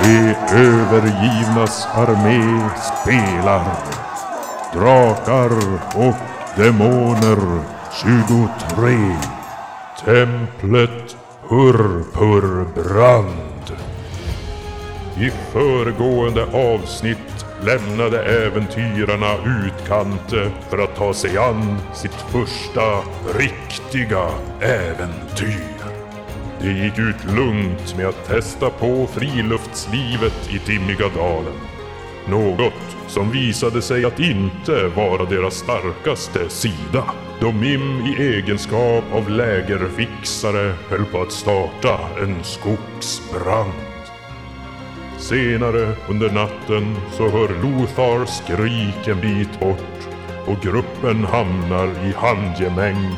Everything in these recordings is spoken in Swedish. De övergivnas armé spelar. Drakar och demoner 23. Templet Purpurbrand. I föregående avsnitt lämnade äventyrarna Utkante för att ta sig an sitt första riktiga äventyr. Det gick ut lugnt med att testa på friluftslivet i Timmigadalen. Något som visade sig att inte vara deras starkaste sida. Då Mim i egenskap av lägerfixare höll på att starta en skogsbrand. Senare under natten så hör Lothar skrik en bit bort och gruppen hamnar i handgemäng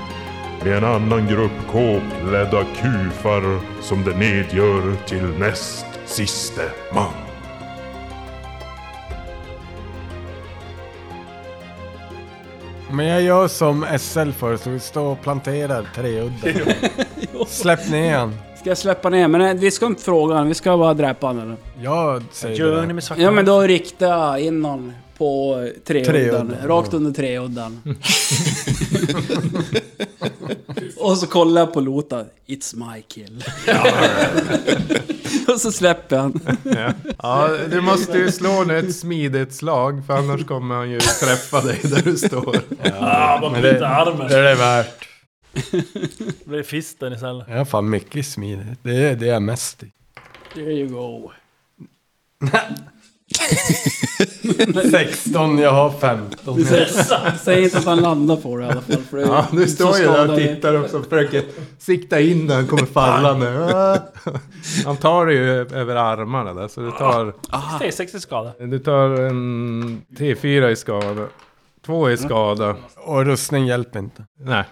med en annan grupp kåklädda kufar som de nedgör till näst siste man. Men jag gör som SL föreslog, vi står och planterar treudden. Släpp ner han. Ska jag släppa ner? Men nej, vi ska inte fråga honom, vi ska bara dräpa honom. eller? Jag säger Gör ni det. med svarta Ja men då rikta in honom på treudden. Treudden, Rakt under treudden. och så kollar jag på Lota. It's my kill. och så släpper han. Ja, du måste ju slå nu ett smidigt slag för annars kommer han ju träffa dig där du står. Ah, bara bryta armen. Det är det värt. Då blir det fisten istället. Jag är fan mycket smidigt. Det är det jag är mest i. There you go. 16, jag har 15. Säg inte att han landar på det i alla fall. För det är Ja, du så står ju där och skadad. tittar också och försöker sikta in den, kommer falla nu. Ah. Han tar dig ju över armarna där så du tar, Det är 60 skada. du tar en T4 i skada. Två i skada. Och rustning hjälper inte. Nej.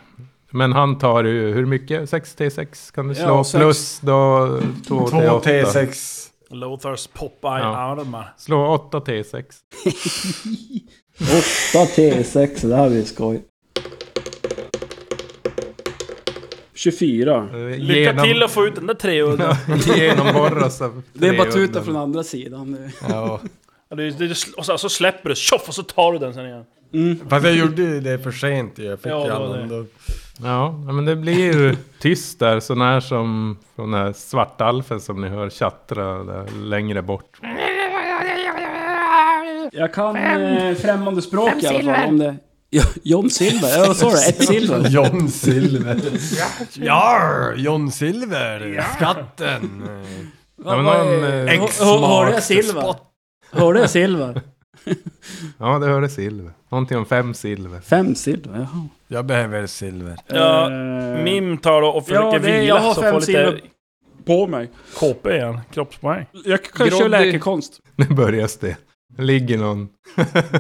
Men han tar ju, hur mycket? 6 T6 kan du slå. Ja, sex. Plus då 2 2 T8. T6. Lothars Popeye-armar. Slå 8 8 T6. T6, det här blir skoj. 24. Eh, Lycka till att få ut den där treudden. Genomborras av Det är bara tuta treudden. från andra sidan. nu. Ja. Ja, det- det- Och så, så släpper du, tjoff, och så tar du den sen igen. Fast jag gjorde ju det för sent ju. Jag fick Ja, ju det var annan det. då. Ja, men det blir tyst där, så när som från den här svartalfen som ni hör tjattra där längre bort. Jag kan eh, främmande språk i alla fall. Om det... Ja, John Silver? Ja, vad sa du? Ett silver? John Silver. Ja, John Silver. Skatten. Ja, men någon, eh, Hör- hör- Hörde jag silver? Hörde jag silver? ja, det hörde silver. Någonting om fem silver. Fem silver, jaha. Jag behöver silver. Ja, Eh, Mim tar då och försöker Ja, det- vila jag har så fem får lite silver. på mig. KP igen. Kroppspoäng. Jag kan Groddy. köra läkekonst. Nu börjar det. Ligger någon.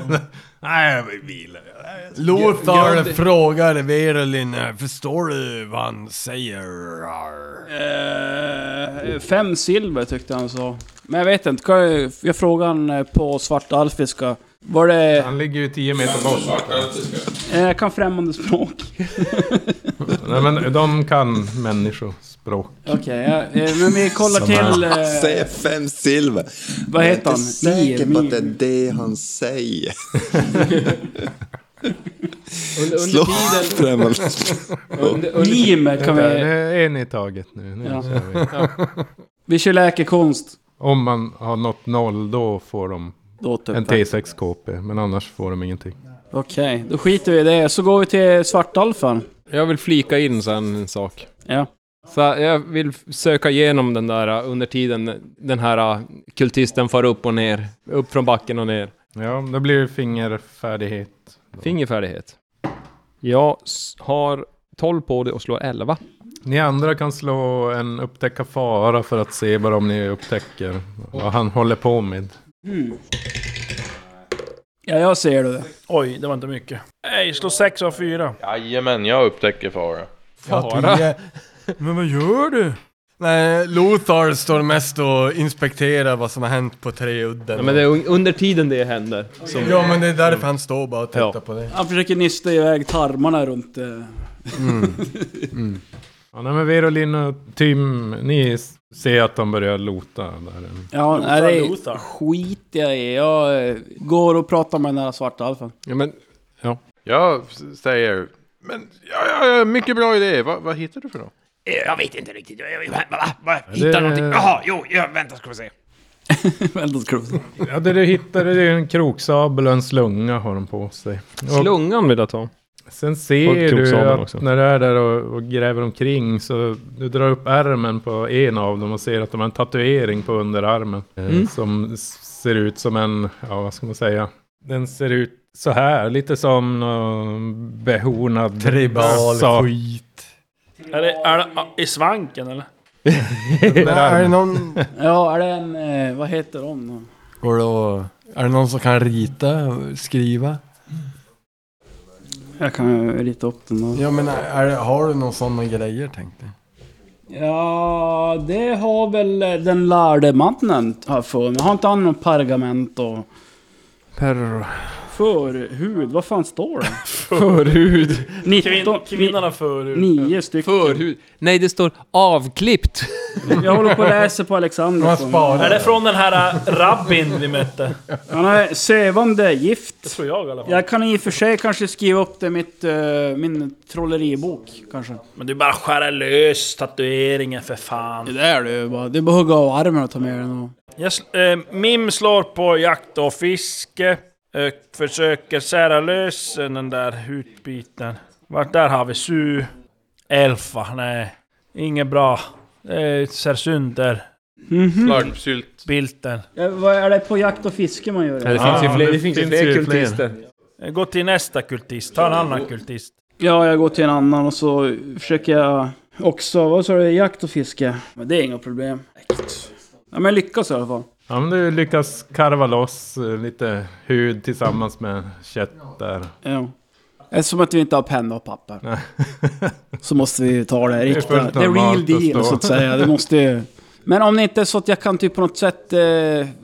Nej, jag vill vila. Lothar frågar Verelin, förstår du vad han säger? Eh, fem silver tyckte han så. Men jag vet inte, kan jag, jag frågade han eh, på svarta alfiska. Var det... Han ligger ju 10 meter bort. eh, Jag kan främmande språk. Nej, men de kan människospråk. Okej, ja, eh, men vi kollar till... Eh, Säger fem silver. vad heter han? Jag är inte säker på att det är Irmin. det han säger. Slå främmande. Mime kan Där, vi... nu är ni i taget nu. nu Ja. kör vi. Vi kör läkekonst. Om man har nått noll, då får de Då typ. en T6 KP. Men annars får de ingenting. Okej, då skiter vi i det. Så går vi till Svartalfan. Jag vill flika in sen en sak. Ja. Så jag vill f- söka igenom den där uh, under tiden den här uh, kultisten far upp och ner. Upp från backen och ner. Ja, då blir det fingerfärdighet. Fingerfärdighet. Jag s- har 12 på det och slår 11. Ni andra kan slå en upptäcka fara för att se bara om ni upptäcker vad han håller på med. Ja, jag ser det. Oj, det var inte mycket. Nej, slå 6 av 4. Jajamän, jag upptäcker fara. Ja, tio. Men vad gör du? Nej, Lothar står mest och inspekterar vad som har hänt på Treudden. Ja, men det är un- under tiden det händer. Som, Ja, men det är därför han står bara och tittar Ja. på det. Han försöker nysta iväg tarmarna runt... eh, Ja, nej, men Verolin och Tim, ni s- Se att de börjar lota där. Ja, Lota, nej, det lota. är skit jag i. Jag eh, går och pratar med den där svarta alfen. Ja, men, Jag s- säger, men ja, ja, ja, mycket bra idé. Va, vad hittar du för något? Eh, Jag vet inte riktigt. Jag- jag- Va? va, va, Det- Hitta någonting. Jaha, jo, ja, vänta ska vi se. Vänta, ska du- Ja, det du hittade det är en kroksabel och en slunga har de på sig. Och slungan vill jag ta. sen och ser du kroksabeln att också. när du är där och, och gräver omkring så du drar upp ärmen på en av dem och ser att de har en tatuering på underarmen. eh, Mm. Som s- ser ut som en, ja vad ska man säga? Den ser ut så här, lite som någon behornad Tribal sak. skit. Är det, är det ah, i svanken eller? Men Är det, någon, Ja, är det en... Eh, vad heter de då? går det att, är det någon som kan rita, skriva? Jag kan ju rita upp den då. Ja men är, det- har du någon sådana grejer tänkte jag? Ja, det har väl eh, den lärde mannen här för mig. Har inte han någon pergament och... Per... Förhud? Vad fan står det? Förhud. 19... Kvinnan har förut. Nio stycken. Förhud. Nej, det står avklippt. Jag håller på och läser på Alexander. Man för mig. Är sparar. det från den här äh, rabbin vi mötte? Han är sövande gift. Tror jag i alla fall. Jag kan i och för sig kanske skriva upp det i mitt, eh, min trolleribok kanske. Men du bara skära lös tatueringen för fan. Det är det ju bara. Det är bara att hugga av armen och ta med den och... Jag, sl- eh, Mim slår på jakt och fiske. Eh, försöker sära lös den där hutbiten. Vart där har vi Su. Elfa, nej. Inget bra. Eh, ser sönder Mhm. Slarvsylt. bilden. Ja, vad är det på jakt och fiske man gör? det det? finns ju Ja, fler, det det finns ju finns fler ju fler. kultister. Eh, Gå till nästa kultist, ta en annan kultist. Ja, jag går till en annan och så försöker jag också... Vad sa du? Jakt och fiske? Men det är inga problem. Ja, men jag lyckas i alla fall. Ja, men du lyckas karva loss eh, lite hud tillsammans med kött där. Ja. Eftersom att vi inte har penna och papper. så måste vi ta det riktiga. fullt Det är real normalt att deal stå. så att säga. Det måste ju... Men om det inte är så att jag kan typ på något sätt eh,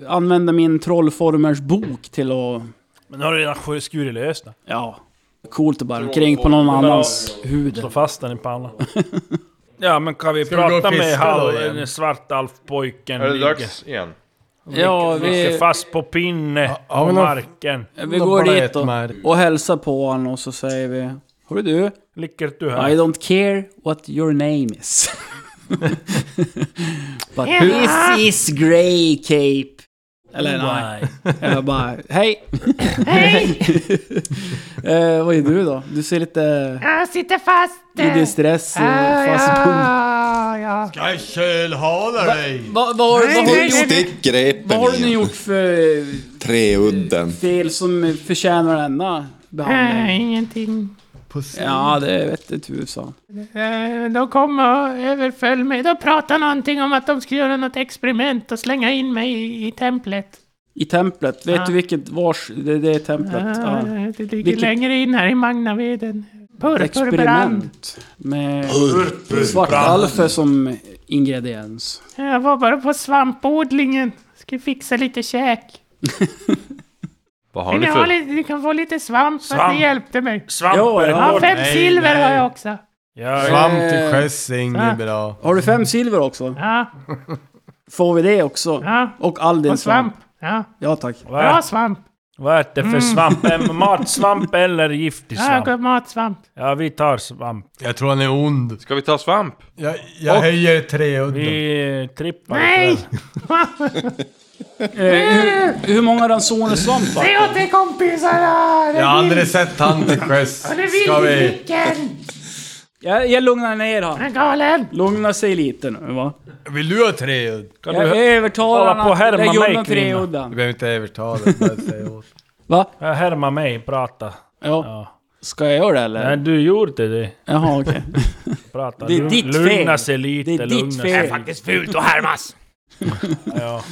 använda min trollformers bok till att... Men nu har du redan sk- skurit lös den. Ja. Coolt att bara kring på någon annans hud. Slå fast den i pannan. Ja men kan vi Ska vi gå prata och med fiska då halv, igen? den svartalfpojken? Är det ligger- dags igen? Ja, Ligger vi, fast på pinne ja, på men då- marken. vi går Bara dit ett och, märk. och hälsar på honom och så säger vi... Hörru du, Ligger du I här? don't care what your name is. But this is grey cape. Eller nej. Nej. Jag bara, hej! Hej! eh, vad är du då? Du ser lite... Jag sitter fast. eh. Du är stress eh, och fastbunden. ja. Jag kölhalar dig! Vad vad har vad har du gjort? Stick grepen Vad har du nu igen. gjort för eh, Treudden. fel som förtjänar denna behandling? Ingenting. Ja, det vete tusan. Eh, De kom och överföll mig. De pratade någonting om att de skulle göra något experiment och slänga in mig i, i templet. I templet, vet Ja. du vilket vars... Det, det är templet. Ah, Ja. Det ligger Vilket- längre in här i Magnaveden. Purpurbrand. Experiment. Med svartalfer som ingrediens. Jag var bara på svampodlingen. Ska fixa lite käk. Vad har Vill ni ni, ha för... lite, ni kan få lite svamp, för att Svamp. det hjälpte mig. Svamp Ja, är ja. Ja, ja. fem Nej, silver nej. har jag också. ja. Fram till sjöss är inget bra. Har du fem silver också? Ja, Får vi det också? ja. Och all din Och svamp. Ja, Ja, tack. Vad, bra är, svamp. vad är det för Mm. svamp? Är Matsvamp eller giftig Ja, svamp? matsvamp. Ja vi tar svamp. Jag tror han är ond. Ska vi ta svamp? Jag, jag höjer treudden. Vi eh, trippar Nej! ikväll. Eh, hur, hur många ransoner svamp va? Säg åt dig kompisarna! Jag Det har vill, aldrig sett han till sjöss. det Ska vill vi... vilken! Jag, jag lugnar ner han. Han är galen! Lugna sig lite nu va. Vill du ha treudd? Kan Jag du övertalar hålla på honom och härma att lägga mig, undan kvinna? Du treudden. behöver inte övertala. bara säga åt. Va? hö- härma mig prata? Ja. Ja. Ska jag göra det eller? Nej du gjorde det. Jaha okej. Prata. Det är Lugn- ditt fel. Lugna sig lite. Det är ditt lugna sig. fel. Fult och härmas! Ja.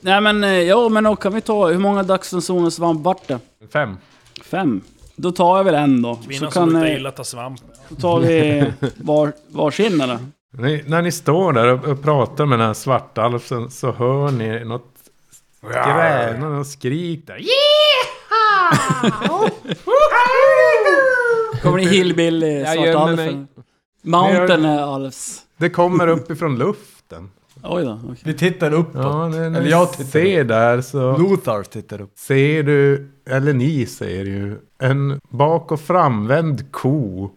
Nej men eh, ja men då kan vi ta, hur många dagsransoner svamp vart det? Fem. Fem. Då tar jag väl en då. Så Kvinnan som kan, luktar eh, illa tar svamp. då tar vi var, varsin eller? Ni, när ni står där och, och pratar med den här svartalfen så hör ni något gränande och skrik där. Kommer det hillbilly Jag gömmer mig. svartalfen? Mountain alfs. Det kommer upp ifrån luften. Oj då, okej. Vi tittar uppåt. Ja, när, när Eller jag jag tittar upp. ser där så Lothar tittar upp. ser du, eller ni ser ju, en bak och framvänd ko.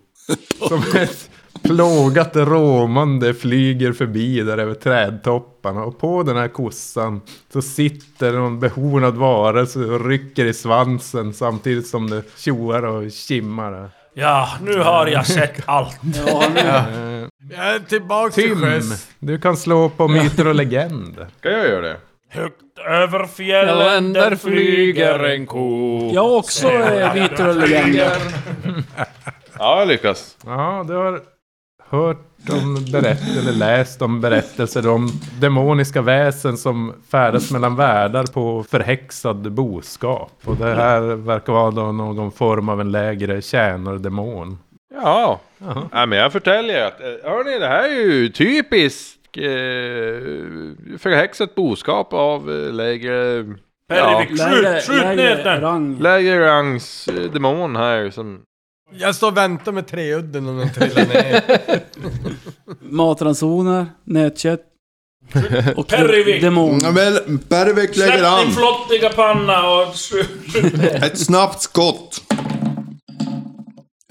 som ett plågat råmande flyger förbi där över trädtopparna. Och på den här kossan så sitter någon behornad varelse och rycker i svansen samtidigt som det tjoar och kimmar. där. Ja, nu har jag sett allt. Jag är tillbaks till Tim, sjöss. du kan slå på myter och legender. Ska jag göra det? Högt över fjällen där flyger en ko. Jag har också eh, myter och legender. Ja, jag lyckas. Ja, du har hört om berättelser, eller läst om berättelser om demoniska väsen som färdas mellan världar på förhäxad boskap. Och det här verkar vara då någon form av en lägre tjänardemon. Ja. Jaha. ja, men jag förtäljer att eh, hörni, det här är ju typiskt eh, förhäxat boskap av eh, lägre, Perivik, Lägre- skjut, skjut lägre ner den! Rang. lägre rangs eh, demon här som... Jag står och väntar med treudden om den trillar ner. Matransoner, nötkött. Och Perivik. demon. Mm. Ja, men Bergvik lägger Släpp din an. flottiga panna och skjut. Ett snabbt skott.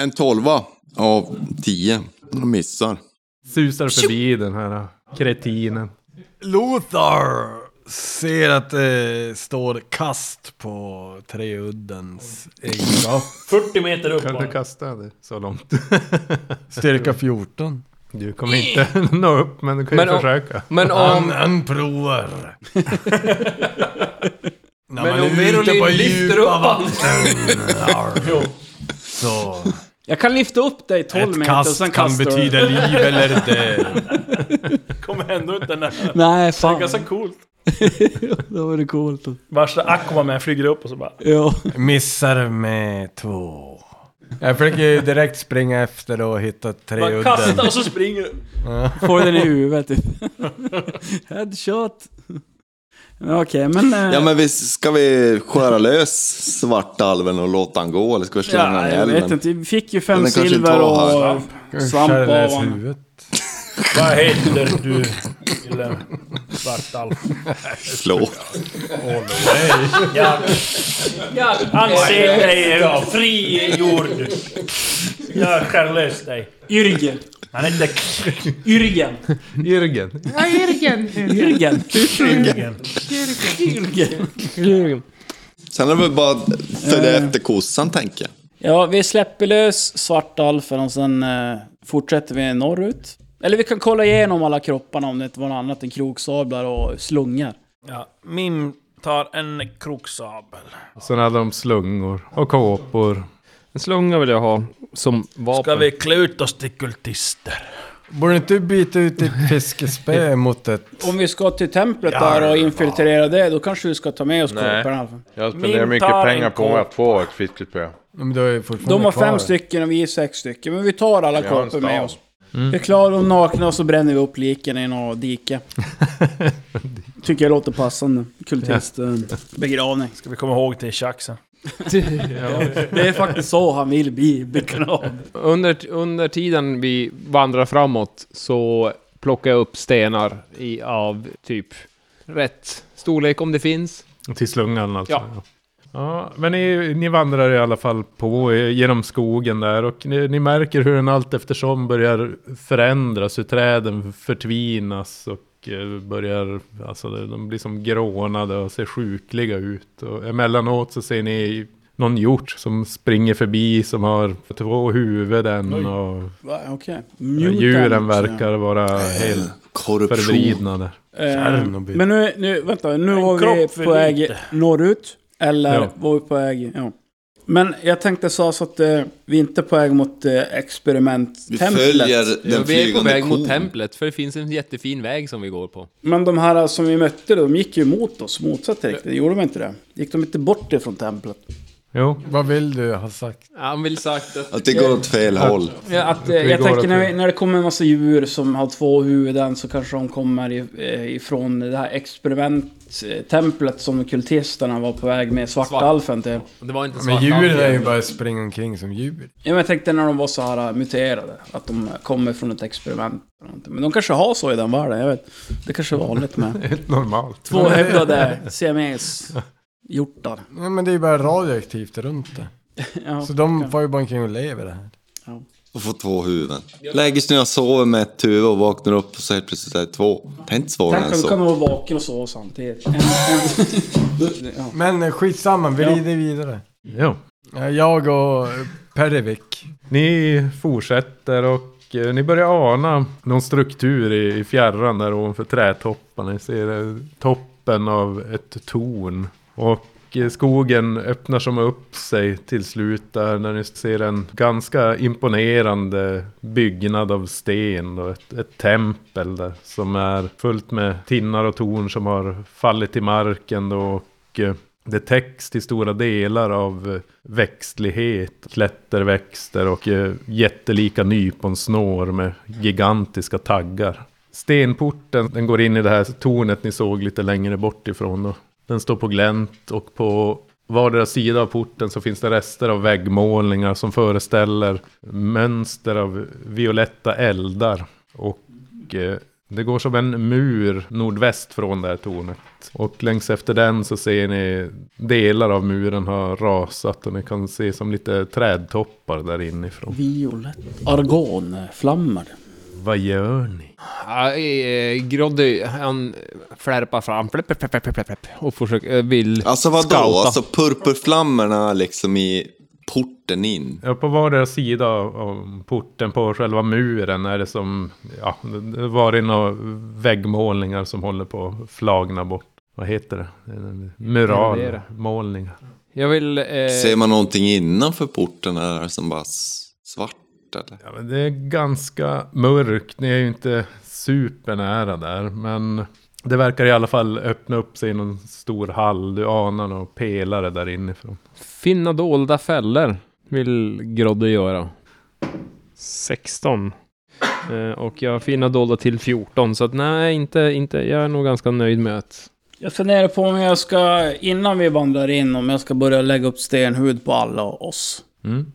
En tolva av tio. Han missar. Susar förbi den här kretinen. Lothar ser att det står kast på treuddens egenskap. 40 meter upp Kan du bara. kasta det så långt? Styrka 14. Du kommer inte nå upp, men du kan ju Men om- försöka. Men Han, om... han provar. När Men man om är ute på Verolin lyfter djupa upp honom. vatten. arr, Så Jag kan lyfta upp dig 12 ett meter och sen kast kan kastar du. betyda liv eller död. Kommer ändå inte nära. Nej, Det är fan. ganska coolt. Då var det coolt. Värsta Aquaman flyger upp och så bara... Ja. Missar med två. Jag försöker ju direkt springa efter och hitta bara treudden. kasta och så springer du. Får den i huvudet typ. Headshot. Men Okej, men... eh, Ja men visst, ska vi skära lös svartalven och låta han gå? Eller ska vi slänga ja, honom i jag vet älven? inte. Vi fick ju fem Den kanske inte silver var här. och svamp av honom. huvudet. Vad heter du, lille Svartalf? Slå. Jag anser dig frigjord. Jag skär lös dig. Yrgen. Han heter Yrgen. Jürgen. Ja, Jürgen. Yrgen. Krugen. Yrgen. Sen är det väl bara att följa Eh. efter kossan tänker jag. Ja, vi släpper lös svartalfen och sen eh, fortsätter vi norrut. Eller vi kan kolla igenom alla kropparna om det inte var något annat än kroksablar och slungar. Ja, Mim tar en kroksabel. Sen hade de slungor och kåpor. En slunga vill jag ha som vapen. Ska vi klä ut oss till kultister? Borde inte du byta ut ditt fiskespö mot ett... Om vi ska till templet där och infiltrera det, då kanske vi ska ta med oss Nej. kropparna. Jag Min spenderar mycket tar en pengar på kåpa. att få ett fiskespö. Men du har ju fortfarande De har kvar. fem stycken och vi är sex stycken, men vi tar alla Vi har en kåpor med stav. oss. Vi klarar dem nakna och så bränner vi upp liken i något dike. Tycker jag låter passande. Kultist. eh, Begravning. Ska vi komma ihåg till tjaxen? Det är faktiskt så han vill bli begravd. Under, under tiden vi vandrar framåt så plockar jag upp stenar i, av typ rätt storlek om det finns. Till slungan alltså. Ja. Ja. Ja, men ni, ni vandrar i alla fall på eh, genom skogen där och ni, ni märker hur den allt eftersom börjar förändras, hur träden förtvinas och eh, börjar, alltså de de blir som grånade och ser sjukliga ut. Och emellanåt så ser ni någon hjort som springer förbi som har två huvuden och Va, Okej. djuren verkar vara helt Korruption. förvridna där. Eh, men nu, nu, vänta, nu var vi kropp för på väg lite. norrut. Eller Ja. var vi på väg, ja. Men jag tänkte så, så att eh, vi inte är på väg mot eh, Vi experimenttemplet. följer den vi är på flygande väg mot kon. templet, för det finns en jättefin väg som vi går på. Men de här som vi mötte, de gick ju mot oss, motsatt riktning. Gjorde de inte det? Gick de inte bort ifrån templet? Jo, Vad vill du ha sagt? Han vill sagt att... Att det går åt fel håll. Ja, att, eh, jag går tänker när, åt- vi, när det kommer en massa djur som har två huvuden så kanske de kommer i- eh, ifrån det här experimentet templet som kultisterna var på väg med svartalfen till. Det var inte Men svart djuren är ju bara springa omkring som djur. Ja, men jag tänkte när de var så här äh, muterade, att de kommer från ett experiment. eller någonting. Men de kanske har så i den världen, jag vet. Det kanske är vanligt med Helt normalt. tvåhövdade siames-hjortar. Ja, men det är ju bara radioaktivt runt det. Ja, Så de okej. får ju bara omkring och lever det här. Och får två huvuden. Lägger sig när jag sover med ett huvud och vaknar upp och så helt plötsligt är det två. Det är inte svårare Tänk än om du kan så. vara vaken och sova samtidigt. En, en, ja. Men eh, skitsamma, vi Ja. rider vidare. Ja. Ja, Jag och Perivik. Ni fortsätter och eh, ni börjar ana någon struktur i, i fjärran där ovanför trädtopparna. Ni ser eh, toppen av ett torn. Och eh, skogen öppnar som upp sig till slut där när ni ser en ganska imponerande byggnad av sten och ett, ett tempel där som är fullt med tinnar och torn som har fallit i marken då och eh, det täcks till stora delar av eh, växtlighet, klätterväxter och eh, jättelika nyponsnår med gigantiska taggar. Stenporten, den går in i det här tornet ni såg lite längre bort ifrån. Då. Den står på glänt och på vardera sida av porten så finns det rester av väggmålningar som föreställer mönster av violetta eldar. Och eh, det går som en mur nordväst från det här tornet. Och längs efter den så ser ni delar av muren har rasat och ni kan se som lite trädtoppar där inifrån. Violett. Argonflammor. Vad gör ni? Ja, eh, Groddy, han flärpar fram fläpp, fläpp, fläpp, fläpp, fläpp, fläpp, och försöker, eh, vill Alltså vadå? scouta. Alltså purpurflammorna liksom i porten in. Ja, på vardera sida av av porten på själva muren är det som, ja, det det var det några väggmålningar som håller på att flagna bort. Vad heter det? Murera. Muralmålningar. Jag vill... Eh, Ser man någonting innanför porten här som bara s- svart eller? Ja, men det är ganska mörkt. Ni är ju inte supernära där. Men det verkar i alla fall öppna upp sig i någon stor hall. Du anar några pelare där inifrån. Finna dolda fällor vill Groddy göra. 16. Eh, och jag har finna dolda till 14, så att nej, inte, inte, jag är nog ganska nöjd med att... Jag funderar på om jag ska, innan vi vandrar in, om jag ska börja lägga upp stenhud på alla oss. Mm.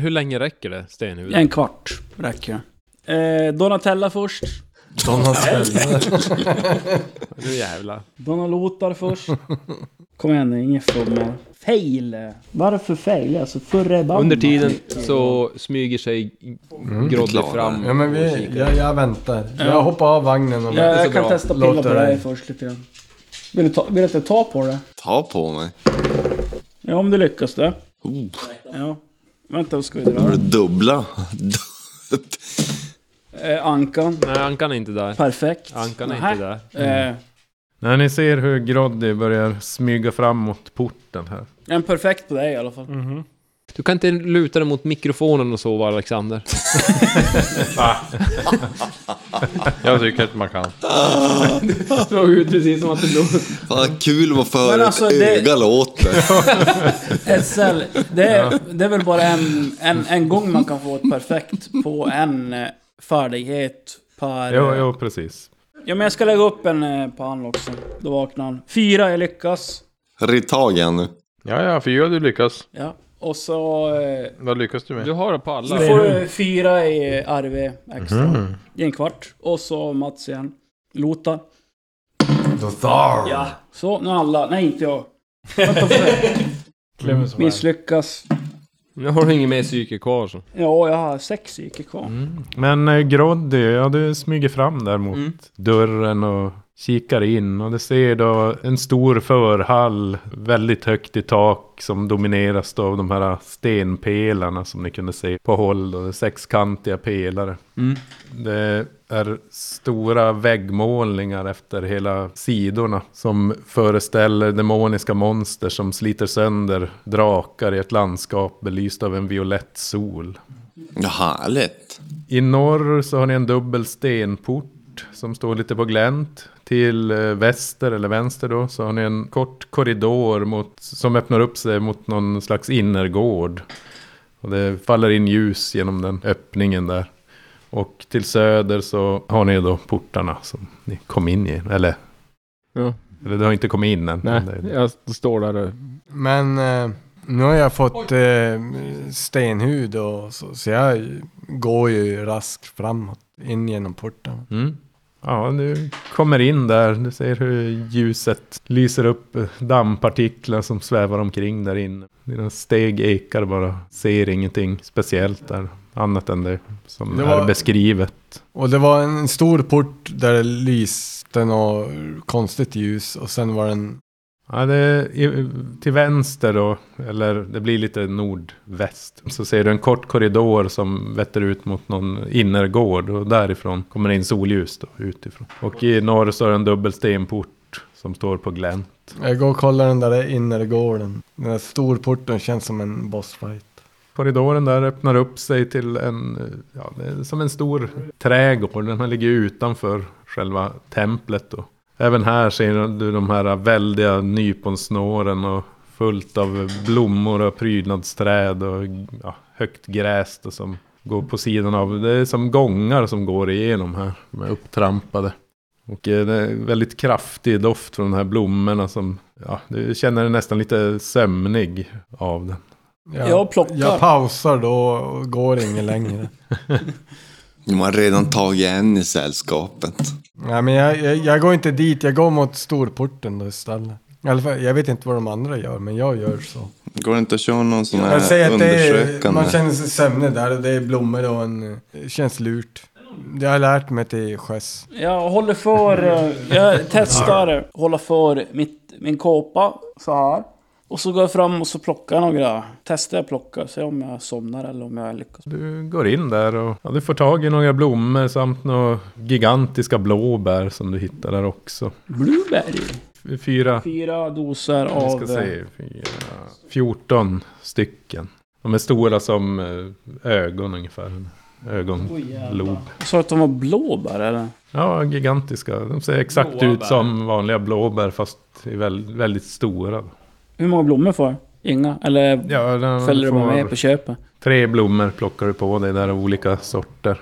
Hur länge räcker det, stenhuvud? En kvart räcker det. Eh, Donatella först. Nu jävlar. Donalotar först. Kom igen nu, inget fummel. Fail! Varför fail? Alltså förre Under tiden så smyger sig Mm, Groddy Klara. fram. Ja men och vi, kikar. jag, jag väntar. Ja. Jag hoppar av vagnen och... Ja, jag kan bra. testa pilla Låter på det här dig. först lite grann. Vill du, ta, vill du att jag tar på det? Ta på mig. Ja, om du lyckas det. Oh, Ja. Vänta, vad ska vi dra? har du dubbla? Eh, ankan. Nej, Ankan är inte där. Perfekt. Ankan är Nähä. inte där. Eh, När ni ser hur Groddy börjar smyga fram mot porten här. en perfekt på dig i alla fall. Mm. Du kan inte luta dig mot mikrofonen och sova, Alexander. Jag tycker att man kan. Det såg ut precis som att du låg... Fan vad kul vad för Men alltså, ett det- öga låter. SL, det är, det är väl bara en, en, en gång man kan få ett perfekt på en eh, färdighet per... Jo, jo precis. Ja, men jag ska lägga upp en eh, på han också. Då vaknar han. Fyra, jag lyckas. Ritt tag igen nu. Ja, ja, för gör du lyckas. Ja. Och så... Eh, Vad lyckas du med? Du har det på alla. så får du fyra i RV extra. Mhm. I en kvart. Och så Mats igen. Lotar. Ja. Så, nu alla. Nej, inte jag. Vänta, för- Misslyckas. Nu har du inget mer psyke kvar så. Ja, jag har sex psyke kvar. Men eh, Groddy, ja du smyger fram där mot dörren och kikar in. Och du ser då en stor förhall, väldigt högt i tak som domineras då av de här stenpelarna som ni kunde se på håll. Då, sexkantiga pelare. Det är stora väggmålningar efter hela sidorna som föreställer demoniska monster som sliter sönder drakar i ett landskap belyst av en violett sol. Ja, härligt. I norr så har ni en dubbel stenport som står lite på glänt. Till eh, väster, eller vänster då, så har ni en kort korridor mot, som öppnar upp sig mot någon slags innergård. Och det faller in ljus genom den öppningen där. Och till söder så har ni då portarna som ni kom in i, eller Ja. Eller det har inte kommit in än. Nej, men det- jag står där och... Men eh, nu har jag fått eh, stenhud och så, så jag går ju raskt framåt in genom porten. Mm. Ja, du kommer in där. Du ser hur ljuset lyser upp eh, dammpartiklar som svävar omkring där inne. Dina steg ekar bara. Ser ingenting speciellt där. Annat än det som Det är var- beskrivet. Och det var en stor port där det lyste något konstigt ljus och sen var den... Ja, det är i- till vänster då, eller det blir lite nordväst. Så ser du en kort korridor som vetter ut mot någon innergård och därifrån kommer det in solljus då, utifrån. Och i norr så är det en dubbel stenport som står på glänt. Jag går och kollar den där innergården. Den där storporten känns som en bossfight. Korridoren där öppnar upp sig till en, eh, ja, det är som en stor trädgård. Den här ligger utanför själva templet då. Även här ser du de här väldiga nyponsnåren och fullt av blommor och prydnadsträd och ja, högt gräs då som går på sidan av. Det är som gångar som går igenom här. De är upptrampade. Och eh, det är väldigt kraftig doft från de här blommorna som, ja, du känner dig nästan lite sömnig av den. Jag plockar. Jag pausar då och går ingen längre. De har redan tagit en i sällskapet. Nej men jag, jag, jag går inte dit, jag går mot storporten då istället. I alla fall, jag vet inte vad de andra gör, men jag gör så. Går det inte att köra någon sån Jag säger här att det är, undersökande? man känner sig sömnig där och det är blommor och en... Det känns lurt. Det har jag lärt mig till sjöss. Jag håller för... eh, Jag testar hålla för mitt, min kåpa så här. Och så går jag fram och så plockar jag några. Testar jag plocka, ser om jag somnar eller om jag lyckas. Du går in där och ja, du får tag i några blommor samt några gigantiska blåbär som du hittar där också. Blueberry. Fyra, Fyra doser vi av... ska se, fyra, 14 stycken. De är stora som eh, ögon ungefär. Oj, Ögonlob. jävlar. Jag sa att de var blåbär eller? Ja, gigantiska. De ser exakt Blåa ut bär. som vanliga blåbär fast är väl, väldigt stora. Hur många blommor får jag? Inga? Eller Ja, den följer de får- med på köpet? Tre blommor plockar du på dig där av olika sorter.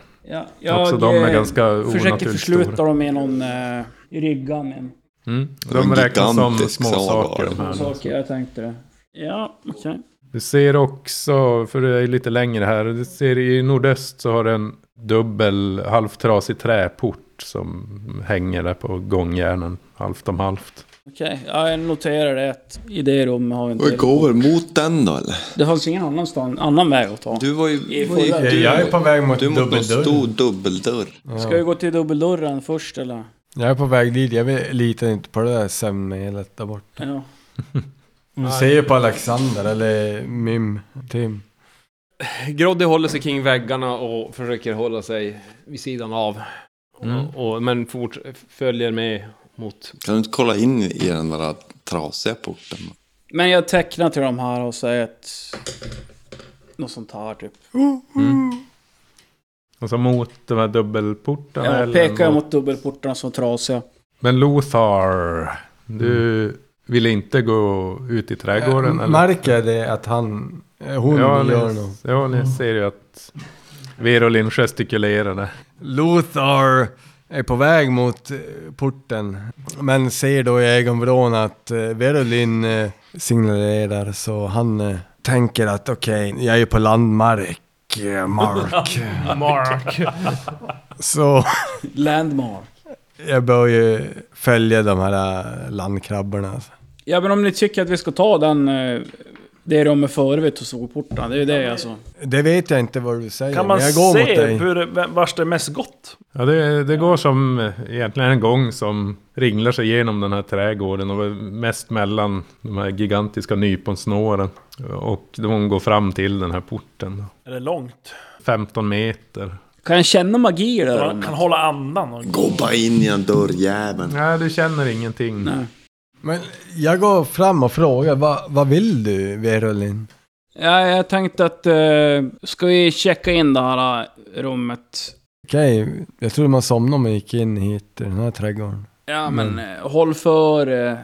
Ja, Också de är eh, ganska försöker onaturligt försluta stora. dem med någon eh, i ryggan. Med. Mm. var en De räknas som gigantisk små sal var saker det. de här. Saker, jag tänkte det. Ja, okej. Du ser också, för det är lite längre här, du ser i nordöst så har du en dubbel halvtrasig träport som hänger där på gångjärnen, halvt om halvt. Okej, ja, jag noterar det att i det rummet har vi Och inte... går väl mot den då eller? Det fanns ingen annanstans, annan väg att ta. Du var ju... I vad gick förra- du? Jag är på väg mot Du är mot någon stor dubbeldörren. dubbeldörr. Ska vi gå till dubbeldörren först eller? Jag är på väg dit, jag vill- litar inte på det där sömnmedlet där borta. Ja. Du ser ju på Alexander, eller Mim, Tim. Groddy håller sig kring väggarna och försöker hålla sig vid sidan av. Mm. Och, och, men fort, följer med mot... Kan du inte kolla in i den där trasiga porten? Men jag tecknar till de här och säger att... Något sånt här typ. Alltså mot de här dubbelportarna. Jag eller pekar mot- mot dubbelportarna som är trasiga. Men Lothar, du ville inte gå ut i trädgården? Äh, eller? Märker jag det att han... eh, Hon ja, ni, gör något? ja, ni ser ju att Verolin gestikulerade. Lothar är på väg mot eh, porten. Men ser då i ögonvrån att eh, Verolin eh, signalerar så han eh, tänker att okej, jag är på landmark. eh, Mark. Mark. Så Landmark. jag bör ju följa de här eh, landkrabborna. Ja men om ni tycker att vi ska ta den... eh, Det rummet före vid Tosorportarna, det är ju det alltså. Det vet jag inte vad du säger, Kan man men jag går mot se dig. hur, vem- vars det är mest gott? Ja, det, det går som eh, egentligen en gång som ringlar sig genom den här trädgården och mest mellan de här gigantiska nyponsnåren. Och de går fram till den här porten. då. Är det långt? 15 meter. Kan jag känna magi i det där Man kan rummet? hålla andan. Och... Gå bara in i den dörrjäveln. Nej, du känner ingenting. Nej. Men jag går fram och frågar, vad, vad vill du Verolin? Ja, jag tänkte att... Eh, ska vi checka in det här eh, rummet? Okej, jag trodde man somnade om man gick in hit i den här trädgården. Ja men eh, håll för eh,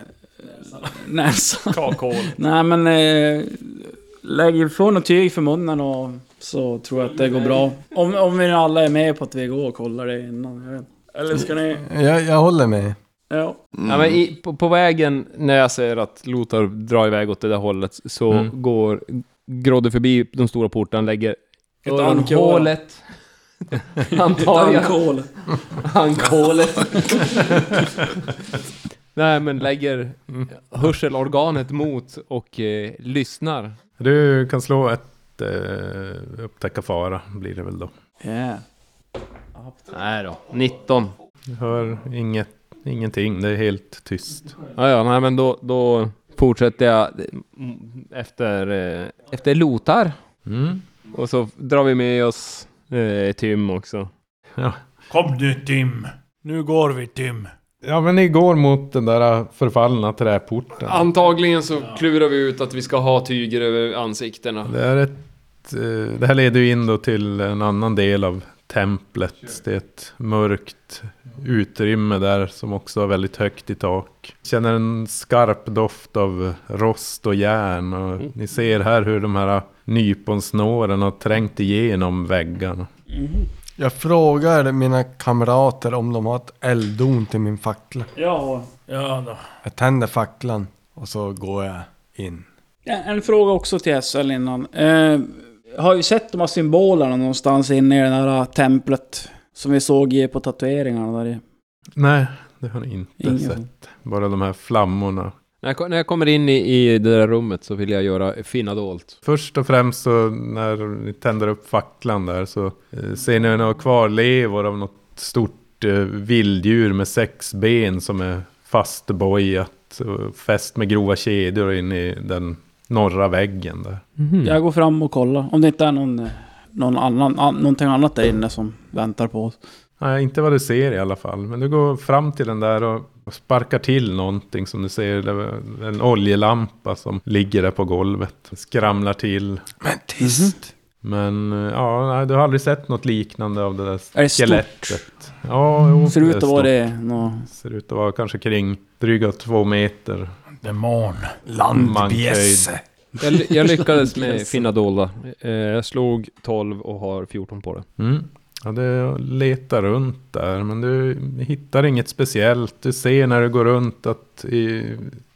näsan. Kakål. Nej men eh, lägg på något tyg för munnen och så tror jag att det går bra. Om, om vi alla är med på att vi går och kollar det innan. Jag vet. Eller ska ni... Jag, jag håller med. Ja. Mm. Ja, men i, på, på vägen när jag säger att Lotar drar iväg åt det där hållet så Mm. går Grodde förbi de stora portarna, lägger Ett öronhålet. Han Ett tar jag- ankål. ankålet. Nej, men lägger hörselorganet mot och eh, lyssnar. Du kan slå ett eh, upptäcka fara blir det väl då. Yeah. Nej då, 19. Du hör inget, ingenting, det är helt tyst. Ja, ja, nej, men då, då fortsätter jag eh, m- efter, eh, efter Lotar. Mm. Och så drar vi med oss eh, Tim också. Kom nu Tim. Nu går vi Tim. Ja men ni går mot den där förfallna träporten. Antagligen så klurar vi ut att vi ska ha tyger över ansiktena. Det, är ett, eh, det här leder ju in då till en annan del av templet. Det är ett mörkt utrymme där som också är väldigt högt i tak. Känner en skarp doft av rost och järn. Och Ni ser här hur de här nyponsnåren har trängt igenom väggarna. Jag frågar mina kamrater om de har ett elddon till min fackla. Ja. Ja då. Jag tänder facklan och så går jag in. Ja, En fråga också till SL innan. Eh, jag har ju sett de här symbolerna någonstans inne i det här templet. Som vi såg i- på tatueringarna där i. Nej, det har ni inte Ingen. sett. Bara de här flammorna. När jag, ko- när jag kommer in i, i det där rummet så vill jag göra finna dolt. Först och främst så när ni tänder upp facklan där så eh, ser ni några kvarlevor av något stort eh, vilddjur med sex ben som är fastbojat och fäst med grova kedjor in i den norra väggen där. Jag går fram och kollar. Om det inte är någon, eh, någon annan, an, någonting annat där inne som väntar på oss. Nej, inte vad du ser i alla fall. Men du går fram till den där och sparkar till någonting som du ser. Det var En oljelampa som ligger där på golvet. Skramlar till. Men tyst! Men eh, ja, nej, du har aldrig sett något liknande av det där Är det stort? skelettet. Ja, jo, Ser ut att vara stort. det. Nå, Ser ut att vara kanske kring dryga två meter. Mhm. Demon. Landbjässe! Jag, ly- jag lyckades med finna dolda. Eh, jag slog 12 och har 14 på det. Mm. Ja, du letar runt där, men du hittar inget speciellt. Du ser när du går runt att i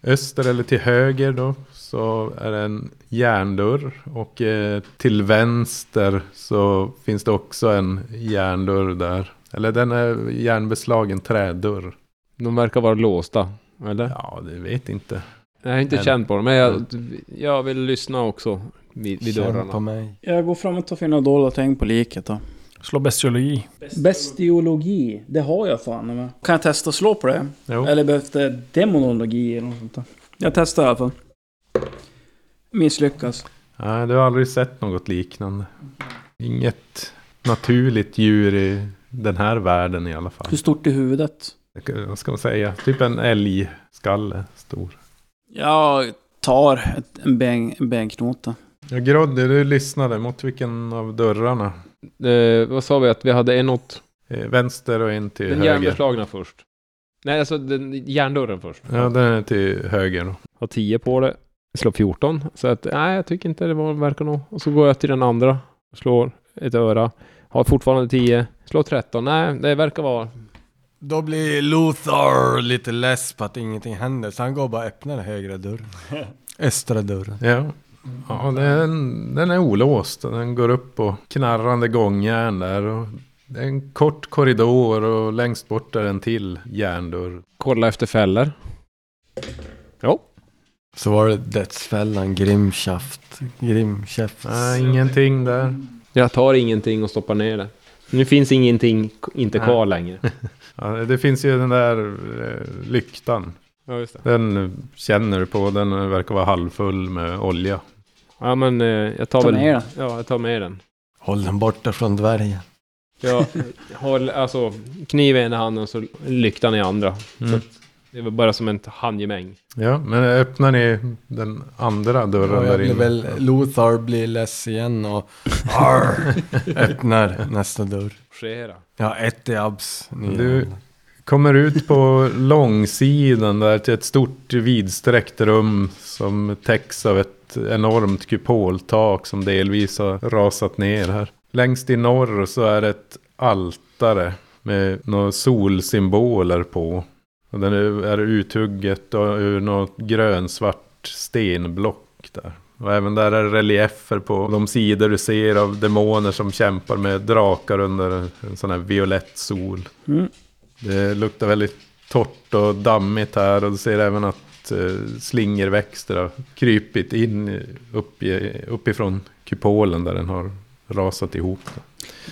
öster eller till höger då så är det en järndörr och eh, till vänster så finns det också en järndörr där. Eller den är järnbeslagen trädörr. De verkar vara låsta, eller? Ja, det vet inte. Jag har inte Nej. känt på dem, men jag, jag vill lyssna också vid, vid Känn på dörrarna. mig. jag går fram och tar fina dolda ting på liket då. Slå bestiologi. Bestiologi, det har jag fan med. Kan jag testa att slå på det? Jo. Eller behövs det demonologi eller något sånt där? Jag testar i alla fall. Misslyckas. Nej, du har aldrig sett något liknande. Inget naturligt djur i den här världen i alla fall. Hur stort är huvudet? Vad ska man säga? Typ en älgskalle stor. Jag tar ett, en, ben, en benknota. Ja, Groddy, du lyssnade mot vilken av dörrarna? Eh, vad sa vi att vi hade en åt? Eh, Vänster och en till Den höger. järnbeslagna först. Nej, alltså den järndörren först. Ja, den är till höger då. Har 10 på det. Slår 14. Så att, nej, jag tycker inte det var, verkar nog. Och så går jag till den andra. Slår ett öra. Har fortfarande 10. Slår 13. Nej, det verkar vara... Då blir Lothar lite less på att ingenting händer, så han går och bara och öppnar den högra dörren. Östra dörren. Ja. Ja, den, den är olåst. Den går upp på knarrande gångjärn där. Och det är en kort korridor och längst bort är en till järndörr. Kolla efter fällor. Så var det dödsfällan, Grimshaft. Grimshaft. Nej, ingenting där. Jag tar ingenting och stoppar ner det. Nu finns ingenting k- inte Nej. kvar längre. Ja, det finns ju den där eh, lyktan. Ja, just det. Den känner du på. Den verkar vara halvfull med olja. Ja, men eh, jag tar Ta väl... med den. Ja, jag tar med den. Håll den borta från dvärgen. Jag håller, alltså, kniv i ena handen och så lyktan i andra. Mm. Det var bara som ett handgemäng. Ja, men öppnar ni den andra dörren Och där jag blir inne? väl, Lothar blir less igen och arr, öppnar nästa dörr. Skera. Jag har ett i abs. Ni- Du- Kommer ut på långsidan där till ett stort vidsträckt rum som täcks av ett enormt kupoltak som delvis har rasat ner här. Längst i norr så är det ett altare med några solsymboler på. Och den är, är uthugget och ur något grönsvart stenblock där. Och även där är det reliefer på de sidor du ser av demoner som kämpar med drakar under en sån här violett sol. Mm. Det luktar väldigt torrt och dammigt här och du ser även att eh, slingerväxter har krypit in i- upp i, uppifrån kupolen där den har rasat ihop.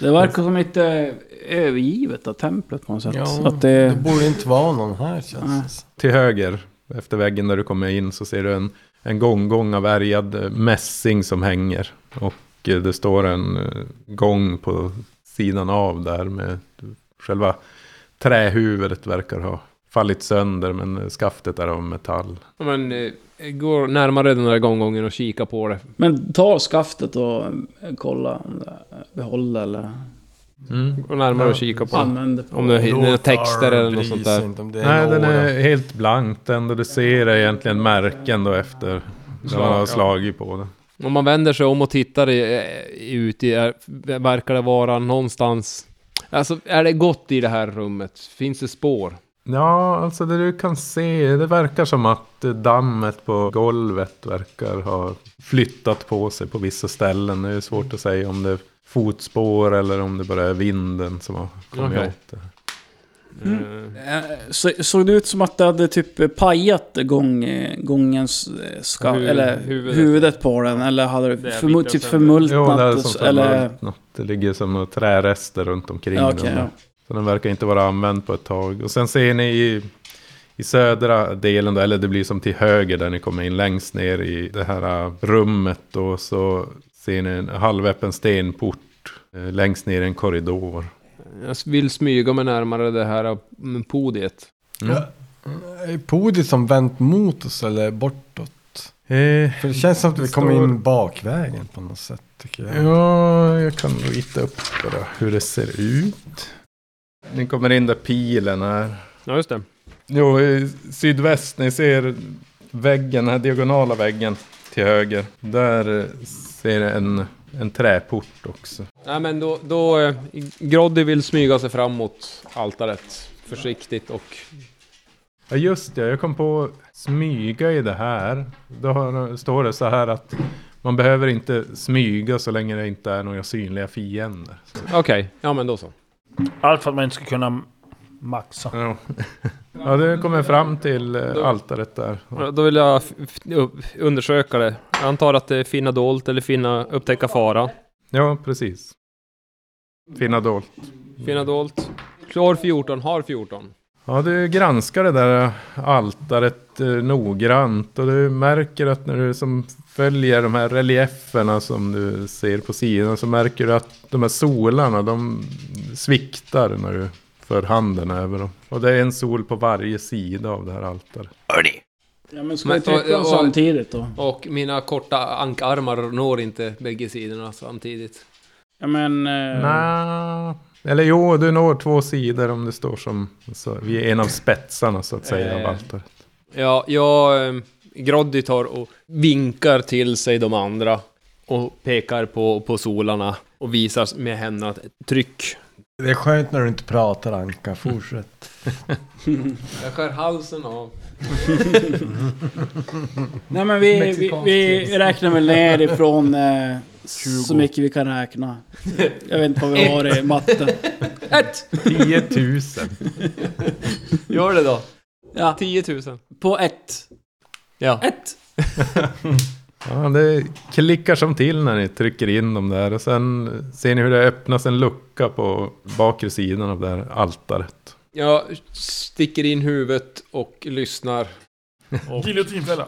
Det verkar som lite eh, övergivet av templet på något sätt. Ja, att det... Det borde inte vara någon här känns det som. Till höger, efter väggen där du kommer in, så ser du en, en gånggång av ärgad eh, mässing som hänger. Och eh, det står en eh, gång på sidan av där med själva trähuvudet verkar ha fallit sönder men eh, skaftet är av metall. Ja, Men eh, går närmare den där gånggången och kika på det. Men ta skaftet och eh, kolla om det behåller eller Går närmare och kika på det. använder. på- Om det är några texter eller något Bryr sånt sig där. inte om det är Nej, några den år. är helt blank den och du ser egentligen märken då efter när man har slagit på den. Om man vänder sig om och tittar i, eh, ut i, är, verkar det vara någonstans... Alltså, är det gott i det här rummet? Finns det spår? Ja, alltså det du kan se, det verkar som att eh, dammet på golvet verkar ha flyttat på sig på vissa ställen. Det är ju svårt att säga om det är fotspår eller om det bara är vinden som har kommit Okej. åt det. Eh, Så, såg det ut som att det hade typ pajat gång, eh, gångens eh, ska, Huvud- eller huvudet. huvudet. på den? Eller hade Det det är förmu- vitt och typ sen- Jo, det, är förmultnat? som och- sagt, eller... något- det ligger som några trärester runt omkring Ja, den. okej, där. ja. Så den verkar inte vara använd på ett tag. Och sen ser ni i, i södra delen, då, eller det blir som till höger där ni kommer in längst ner i det här äh, rummet. Då, så ser ni en halvöppen stenport eh, längst ner i en korridor. Jag vill smyga mig närmare det här mm, podiet. Mm. Är podiet som vänt mot oss eller bortåt? Eh, För det känns som att vi Står- kommer in bakvägen på något sätt tycker jag. ja, jag kan rita upp bara hur det ser ut. Ni kommer in där pilen är. Ja, just det. Jo, i sydväst, ni ser väggen, den här diagonala väggen till höger. Där eh, ser jag en, en träport också. Nej, men då... då eh, Groddy vill smyga sig fram mot altaret. Försiktigt och... Ja just det, jag kom på smyga i det här. Då har, står det så här att man behöver inte smyga så länge det inte är några synliga fiender. Okej, ja men då så. Allt för att man inte ska kunna maxa. Ja, ja det kommer fram till eh, altaret där. Ja, Då vill jag f- f- upp- undersöka det. Jag antar att det är finna dolt eller finna upptäcka fara. Ja, precis. Finna dolt. Finna dolt. Klar 14, har 14. Ja, du granskar det där altaret eh, noggrant och du märker att när du som följer de här relieferna som du ser på sidan så märker du att de här solarna de sviktar när du för handen över dem. Och det är en sol på varje sida av det här altaret. Hörni! Ja, men ska vi Men- trycka och- dem och- samtidigt då? Och mina korta ankarmar når inte bägge sidorna samtidigt. Ja men... eh, Nja, Eller jo, du når två sidor om du står som så, vid en av spetsarna så att säga Eh. av altaret. Ja, jag... ehm, Groddy tar och vinkar till sig de andra och pekar på, på solarna och visar med händerna att tryck. Det är skönt när du inte pratar Anka, fortsätt. Jag skär halsen av. Nej men vi, vi, vi räknar väl ner ifrån eh, så mycket vi kan räkna. Jag vet inte vad vi har i matten. Ett! 10 000. Gör det då. Ja, 10 000. på ett. Ja. Ett! Ja, det klickar som till när ni trycker in dem där och sen ser ni hur det öppnas en lucka på bakre sidan av det här altaret. Jag sticker in huvudet och lyssnar. Giljotinfälla.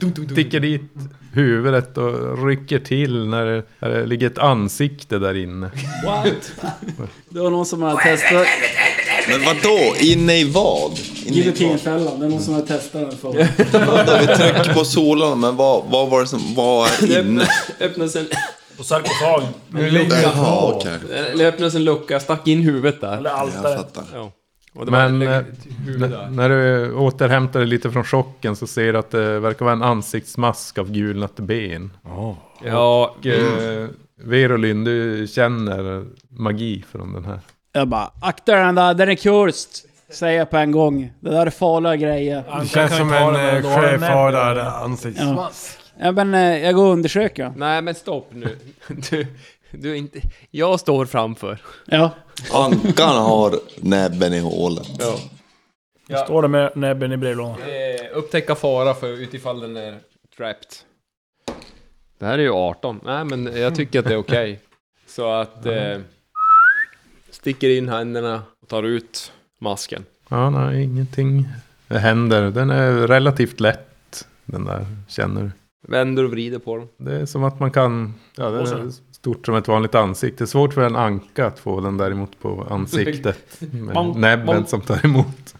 Du sticker dit huvudet och rycker till när det, när det ligger ett ansikte där inne. What? Det var någon som hade testat Men vadå? Inne i vad? Inne i vad? giljotinfällan. Det är någon som hade testat den för Vänta, vi trycker på solarna, men vad, vad var det som... Vad är inne? Öppnas en, På sarkofagen. Jaha, okej. eller öppnas en lucka, jag stack in huvudet där. Eller Jag altaret. fattar. Ja. Och det Men var eh, ett huvud n- där. när du återhämtar dig lite från chocken så ser du att det verkar vara en ansiktsmask av gulnat ben. Ja, Och Mm. eh, Verolyn, du känner magi från den här. Jag bara, akta den där, den är kurst. Säga på en gång. Det där är farliga grejer. Det känns som en eh, sjöfarare ansiktsmask. Ja. ja men eh, jag går och undersöker. Nej men stopp nu. Du, du är inte... Jag står framför. Ja. Ankan har näbben i hålet. Står det med näbben i brevlådan. Eh, upptäcka fara för utifall den är trapped. Det här är ju 18. Nej men jag tycker att det är okej. Så att... Eh, sticker in händerna och tar ut masken. Ja, nej, ingenting händer. Den är relativt lätt, den där, känner du. Vänder och vrider på dem. Det är som att man kan... Ja, det Och så- är stort som ett vanligt ansikte. Svårt för en anka att få den däremot på ansiktet. Med Bonk, näbben bonk. som tar emot.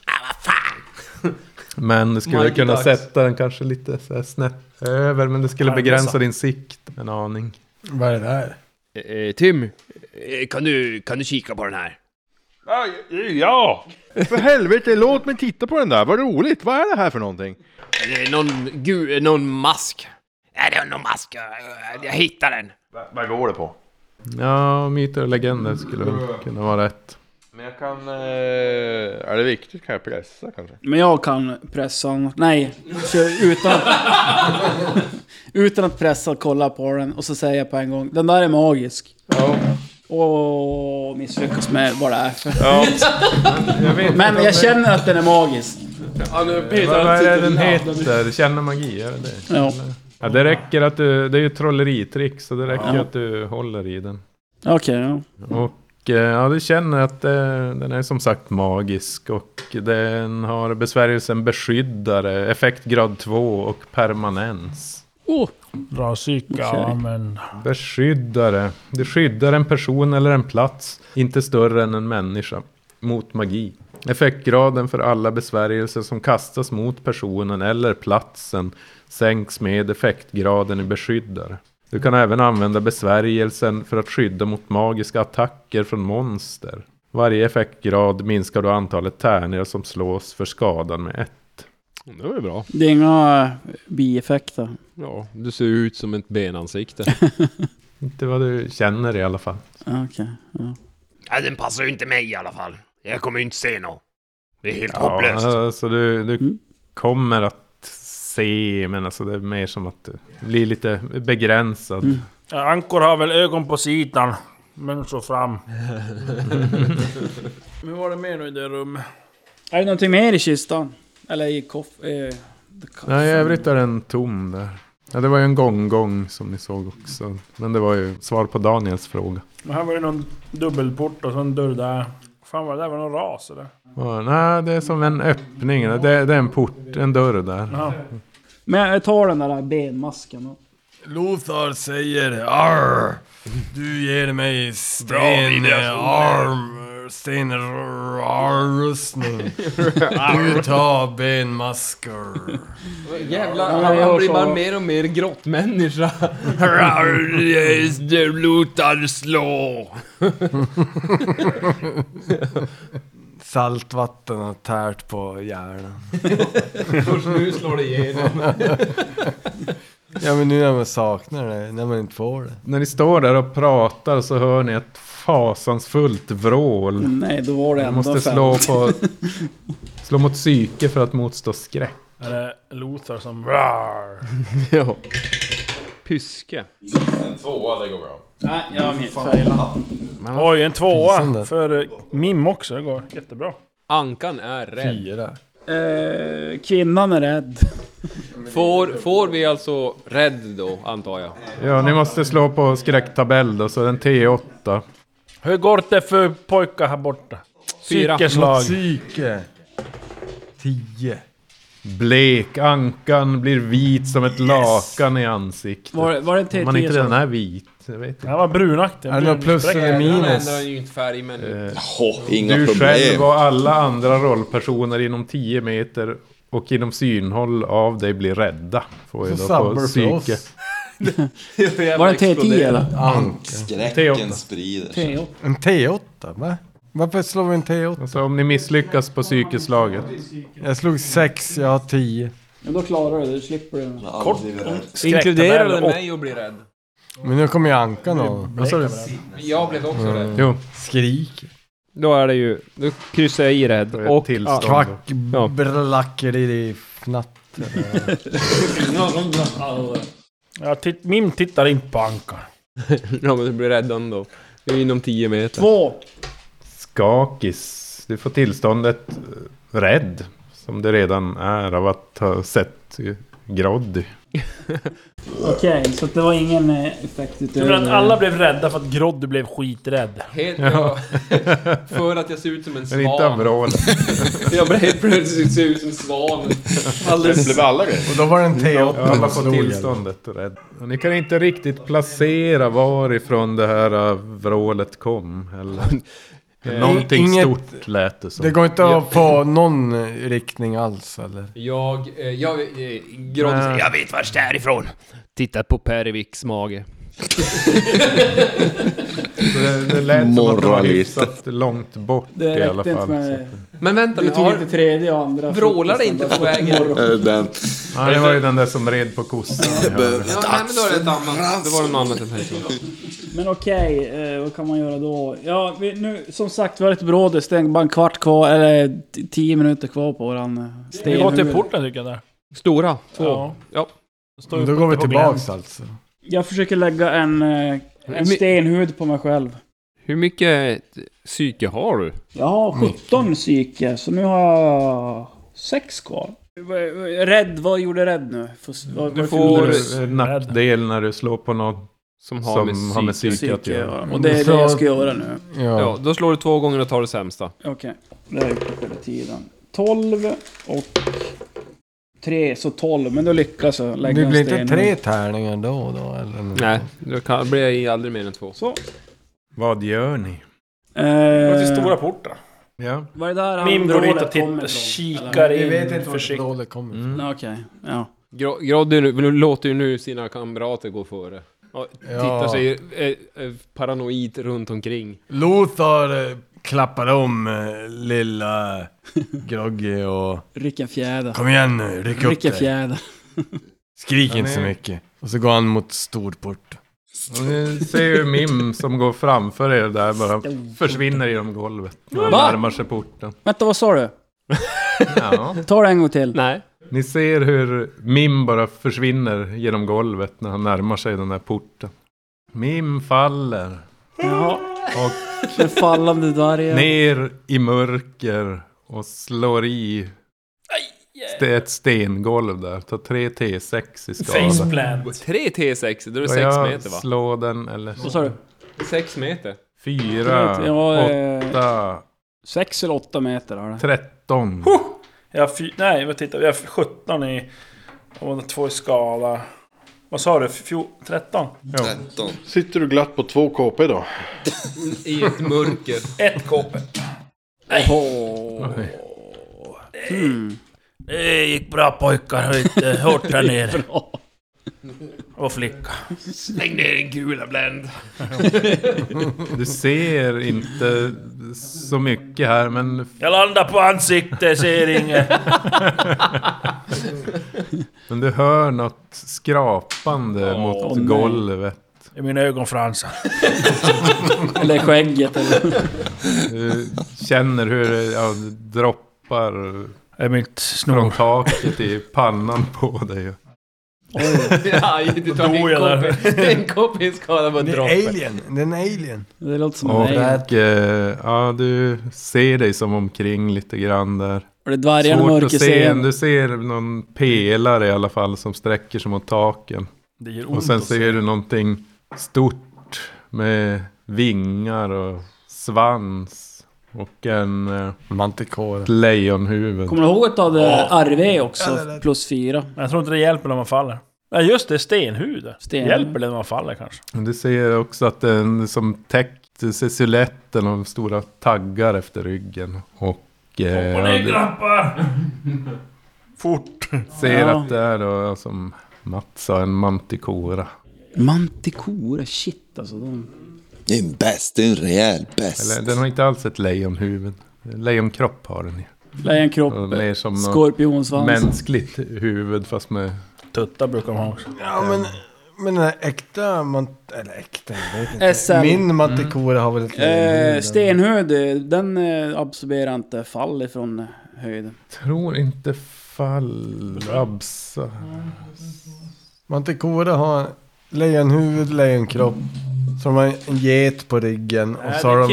Men du skulle Mike kunna Ducks. sätta den kanske lite så här snett över. Men det skulle Armbåsa. begränsa din sikt en aning. Vad är det där? Eh, Tim. eh, Kan du, kan du kika på den här? Ja! För helvete, låt mig titta på den där. Vad roligt. Vad är det här för någonting? Är det Eh, någon, gu, någon mask? Är det någon mask? Eh, Jag hittar den. Vad går det på? Ja, myter och legender skulle väl kunna vara rätt. Men jag kan... Eh, är det viktigt? Kan jag pressa kanske? Men jag kan pressa honom. Nej. Så Utan att, utan att pressa kolla på den och så säger jag på en gång. Den där är magisk. Och misslyckas med vad det är för. Jag vet Men jag känner att den är magisk. Vad vad är det den heter? Känna magi, är det det? Ja. Ja, det räcker att du... Det är ju ett trolleritrick, så det räcker att du håller i den. Okej, ja. Och eh, ja, du känner att eh, den är som sagt magisk och den har besvärjelsen beskyddare, effektgrad 2 och permanens. Dra psyka, Okej. men... Beskyddare. Du skyddar en person eller en plats, inte större än en människa, mot magi. Effektgraden för alla besvärjelser som kastas mot personen eller platsen sänks med effektgraden i beskyddare. Du kan även använda besvärjelsen för att skydda mot magiska attacker från monster. Varje effektgrad minskar då antalet tärningar som slås för skadan med ett. Det var ju bra. Det är inga eh, bieffekter. Ja, du ser ut som ett benansikte. Inte vad du känner i alla fall. Okej. ja. Nej, den passar ju inte mig i alla fall. Jag kommer ju inte se något. Det är helt Ja, hopplöst. alltså du, du Mm. kommer att se, men alltså det är mer som att du blir lite begränsad. Mm. Ja, Ankor har väl ögon på sidan. Men så fram. Men var det mer nu i det rummet? Är det någonting mer i kistan? Eller i koff... Eh, Nej, i övrigt är den tom där. Ja, det var ju en gång-gång som ni såg också. Men det var ju svar på Daniels fråga. Men här var ju någon dubbelport och så en dörr där. Fan vad det där var någon ras eller? Och, nej, det är som en öppning. Det, det är en port, en dörr där. Ja. Men jag tar den där benmasken då. Lothar säger arr. Du ger mig sten... eh, arm... eh, Stenrustning. Du tar benmasker. Jävlar, han, han blir bara mer och mer grottmänniska. Lotar slå! Saltvatten har tärt på hjärnan. Först nu slår det igenom. Ja men nu när man saknar det, när man inte får det. När ni står där och pratar så hör ni ett fasansfullt vrål. Nej, då var det Ni ändå måste fem. slå, på, slå mot psyke för att motstå skräck. Är det Lothar som... Rar. ja. Pyske. Nej, jag missade. Oj, en tvåa Fisande. för eh, Mim också. Det går jättebra. Ankan är rädd. Fyra. Eh, kvinnan är rädd. Får, får vi alltså rädd då, antar jag? Ja, ni måste slå på skräcktabell då, så den T8. Hur går det för pojkar här borta? Fyra. Psykeslag. Psyke. Tio. Blek, ankan blir vit som ett lakan i ansiktet. Var, var det en Om man T10 inte redan som... är vit, jag vet inte. Han var brunaktig. Är det något plus eller Han minus? ändrar ju inte färg, men... Åh, inga Du själv problem. och alla andra rollpersoner inom 10 meter och inom synhåll av dig blir rädda. Får Så ju då på sabbar för psyke. oss. Var det en T10 eller? T8. Skräcken sprider sig. T8. En T8 va? Varför slår vi en T8? Alltså om ni misslyckas på psykeslaget. Jag slog sex, jag har tio. Men då klarar du det, du slipper det. Kort. Det Inkluderar det mig och blir rädd? Men nu kommer ju Ankan och... Vad sa du? Mm. Jag blev också rädd. Jo, Skrik. Då är det ju... Då kryssar jag i red. är Och... tillstånd. Kvack, Ja. bracker i fnatt. Ja, titt, Mim tittar in på Ankan. ja men du blir rädd ändå. Du är inom 10 meter. Två! Skakis. Du får tillståndet eh, rädd. Som det redan är av att ha sett eh, Groddy. Okej, så det var ingen eh, effekt Du utöver... menar att alla blev rädda för att Groddy blev skiträdd? Helt, ja. För att jag ser ut som en Men inte av svan. vrål. Jag blev helt plötsligt ser ut som en svan. Det Alldeles... blev alla det? Och då var det en Ja, alla får T8-pistol. tillståndet rädd. Och ni kan inte riktigt placera varifrån det här eh, vrålet kom. Eller. Eh, Någonting Inget- stort lät det som. Det går inte att få någon eh, riktning alls eller? Jag... eh, Jag... eh, Groddy Nej. säger, Jag vet vart det är ifrån. Titta på Perviks mage. Det, det lät som att det var Morra lite. hyfsat långt bort Det i alla räckte inte fall. med... Men vänta Du nu, tog inte har... tredje och andra. Vrålar det frukosten, inte bara på för vägen? morgon. Är Äh, det den? Ja, det var ju den där som red på kossan. Ja, nej, men då är det ett annat. Det var något annat jag tänkte på. Men okej, eh, vad kan man göra då? Ja, vi, nu, som sagt var det ett brådis. Det är bara en kvart kvar, eller t- tio minuter kvar på våran eh, Vi går till stenhuvud. porten tycker jag där. Stora. Två. Ja. Ja. Står Men upp Då går vi och igen. tillbaks alltså. Jag försöker lägga en, eh, en Mi- stenhud på mig själv. Hur mycket psyke har du? Jag har 17 psyke, så nu har jag sex kvar. Vad- vad- Rädd, vad gjorde rädd nu? Fast, vad, vad Du är för får- minus? Får nackdel när du slår på någon Som har med som har med psyke? psyke att psyke. göra. ja. Och det är det jag ska göra nu. Ja, Ja. då slår du två gånger och tar det sämsta. Okej, det har jag gjort hela tiden. 12 och 3, så 12. Men då lyckas jag lägga Det en blir inte stenhud. tre tärningar då och då eller? något? Nej, då kan, blir jag i aldrig mer än två. Så. Vad gör ni? Vi går till Eh, stora porten. Ja. Var det där Mim går dit och kommer ifrån? tittar, kikar Vi vet in inte vart försiktigt. brålet kommer ifrån. Mm. Nej, Okej, ja. Gro- Groddy nu- nu låter ju nu sina kamrater gå före. Och tittar Ja. sig eh, eh, paranoid runt omkring. Lothar eh, klappar om eh, lilla Groggy och... Rycka fjäder. Kom igen nu, ryck upp Rycka dig. fjäder. Skrik Ja, inte så nej. mycket. Och så går han mot storport. Och ni ser ju Mim som går framför er där bara försvinner genom golvet. Han Va? närmar sig porten. Vänta, vad sa du? Ja. Ta det en gång till. Nej. Ni ser hur Mim bara försvinner genom golvet när han närmar sig den där porten. Mim faller Jaha. Och- Den fallande dvärgen. ner i mörker och slår i st- ett stengolv där. Ta 3 T6 i skada. Faceplant. 3 T6, då är det Och 6 jag meter va? slår den eller Vad sa du? 6 meter? fyra, Ja, eh, åtta, Sex eller åtta meter har det. tretton. Jag har fy- Nej, vad tittar vi? Jag har 17 i... Och två i skala. Vad sa du? Fjo- 13? 13. Sitter du glatt på två KP då? I ett mörker. Ett KP. Oj. Det gick bra pojkar. och inte Hårt här nere. Bra. Och flicka. Släng ner en gula bländ. Du ser inte så mycket här men Jag landar på ansiktet, ser inget. Men du hör något skrapande mot nej. golvet. I mina ögonfransar. Eller skägget eller... Du känner hur det ja, droppar I mitt från snor. taket i pannan på dig. Oh. Ja, du tar Då är jag en kopp. En kopp i skada bara Det är droppen. alien! Det är en alien! Det låter som en Och alien. eh, ja, du ser dig som omkring lite grann där. Och det är dvärgen och Svårt att se. mörkerscen. Du ser någon pelare i alla fall som sträcker sig mot taken. Det gör ont Och sen att se. ser du någonting stort med vingar och svans. Och en, eh, Manticore. ett lejonhuvud. Kommer du ihåg att du hade RV också? Plus fyra. Men jag tror inte det hjälper när man faller. Nej just det, stenhud. Sten. Hjälper det när man faller kanske? Men Du ser också att den som täckt, du ser siluetten av stora taggar efter ryggen. Och eh, Hoppa ner ja, grappar! Fort! du ser Ja. att det är då som Mats sa, en mantikora. Mantikora, shit alltså. De... Det är en bäst, det är en rejäl bäst. Eller den har inte alls ett lejonhuvud. Lejonkropp har den ju. Lejonkropp. Och Mer som något Skorpionsvans. mänskligt huvud fast med... Tuttar brukar man ha också. Ja men... Men den här äkta, man, eller äkta, jag vet inte. SL. Min mattekora har väl ett Mm. Eh, stenhöjd, den eh, absorberar inte fall ifrån eh, höjden. Tror inte Mm. fallrabsa. Manticora har lejonhuvud, lejonkropp. Så de har en get på ryggen. Och så har de...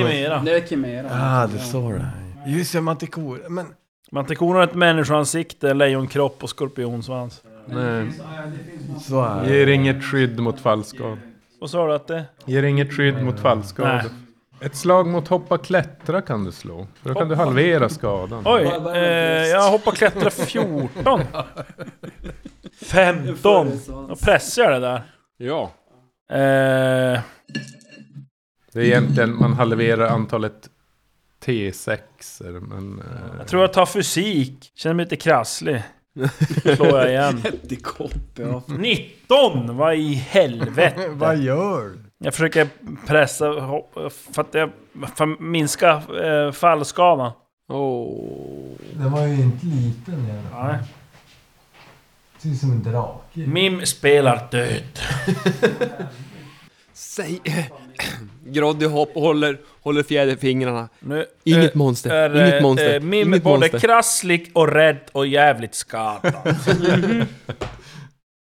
Det är Kimera. Ah, det står det. här. Just det, manticora. Men... Mantikon har ett människoansikte, lejonkropp och skorpionsvans. Nej. Så är det. Ger inget skydd mot fallskad. Vad sa du att det Ger inget skydd mot Nej. fallskad. Ett slag mot hoppa klättra kan du slå. För då kan du halvera skadan. Oj, eh, jag hoppar klättra 14. 15. Då pressar jag det där. Ja. Eh, Det är egentligen man halverar antalet T6. er, Men, eh, jag tror jag tar fysik. Känner mig lite krasslig. Slår jag igen. Jättekopp, ja. 19! Vad i helvete? Vad gör du? Jag försöker pressa hopp- för att jag, för att minska eh, fallskadan. Åh. Den var ju inte liten. jävlar. Nej. Ser ut som en drake. Mm. Mim spelar död. Säg... Groddy hopp, håller, håller fjäderfingrarna. Nu, Inget eh, monster, är, inget eh, monster, eh, Mim är inget både monster. krasslig och rädd och jävligt skadad.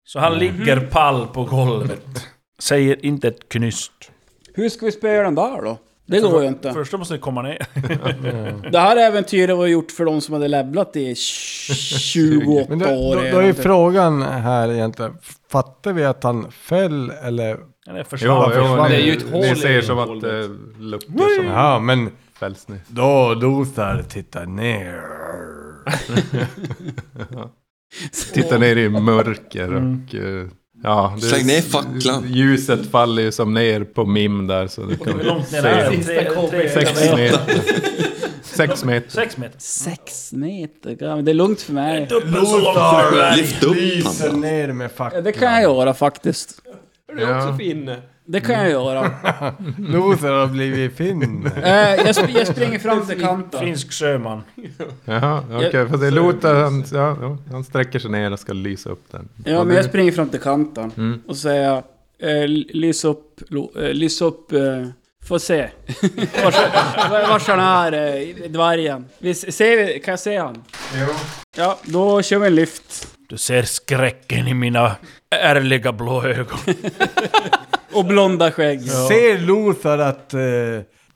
Så Mm. han ligger pall på golvet. Säger inte ett knyst. Hur ska vi spela den där då? Det Alltså, går ju inte. Först måste vi komma ner. Det här äventyret var gjort för de som hade levlat i 28 Men då, då, år. då är frågan här egentligen. Fattar vi att han föll eller? Eller ja, försvar. ja, Det är ni- ju ett hål Ni i ser som att eh, golvet. det luktar som Ja, men fälls nu. då Lothar tittar ner. Tittar ner i mörker Mm. och... eh, Ja, det- Släng ner facklan. Ljuset faller ju som ner på Mim där så du kan Hur långt ner se. är det? Tre- tre- Sex meter. Sex meter. Sex meter. Sex meter? ja, men Det är lugnt för mig. Dubbelt så långt som du är. Lyft upp Lyser honom. ner med Ja, facklan. Det kan jag göra faktiskt. Är du också finne? Det kan jag göra. Lothar har blivit fin. Eh, jag, sp- jag springer fram till kanten. Finsk sjöman. Jaha, okej. för det låter... Han, ja, jo, han sträcker sig ner och ska lysa upp den. Ja, men jag springer fram till kanten. Mm. Och säger eh, lys upp, lo- eh, lys upp, eh, får se. Vars var- vars han är, eh, dvärgen. Vi, s- ser vi, kan jag se han? Ja, då kör vi en lyft. Du ser skräcken i mina ärliga blå ögon. Och blonda skägg. Ser Lothar att eh,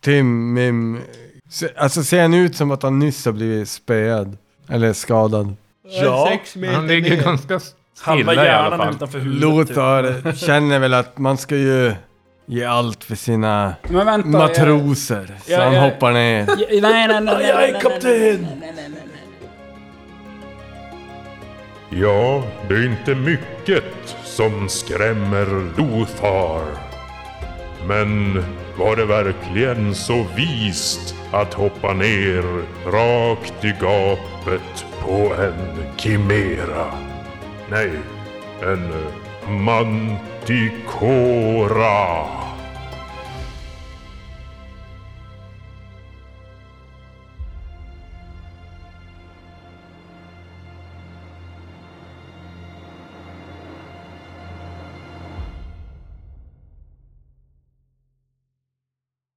Tim, Mim... Se, alltså ser han ut som att han nyss har blivit spöad? Eller skadad? Ja, Han ligger ganska halva stilla i alla hjärnan fall. utanför huvudet. typ. Lothar känner väl att man ska ju ge allt för sina Men vänta. jag- matroser. Så Ja, han ja. hoppar ner. Ja, Nej, nej, nej, nej. Jag är kapten! Ja, det är inte mycket som skrämmer Lothar. Men var det verkligen så vist att hoppa ner rakt i gapet på en kimera? Nej, en mantikora.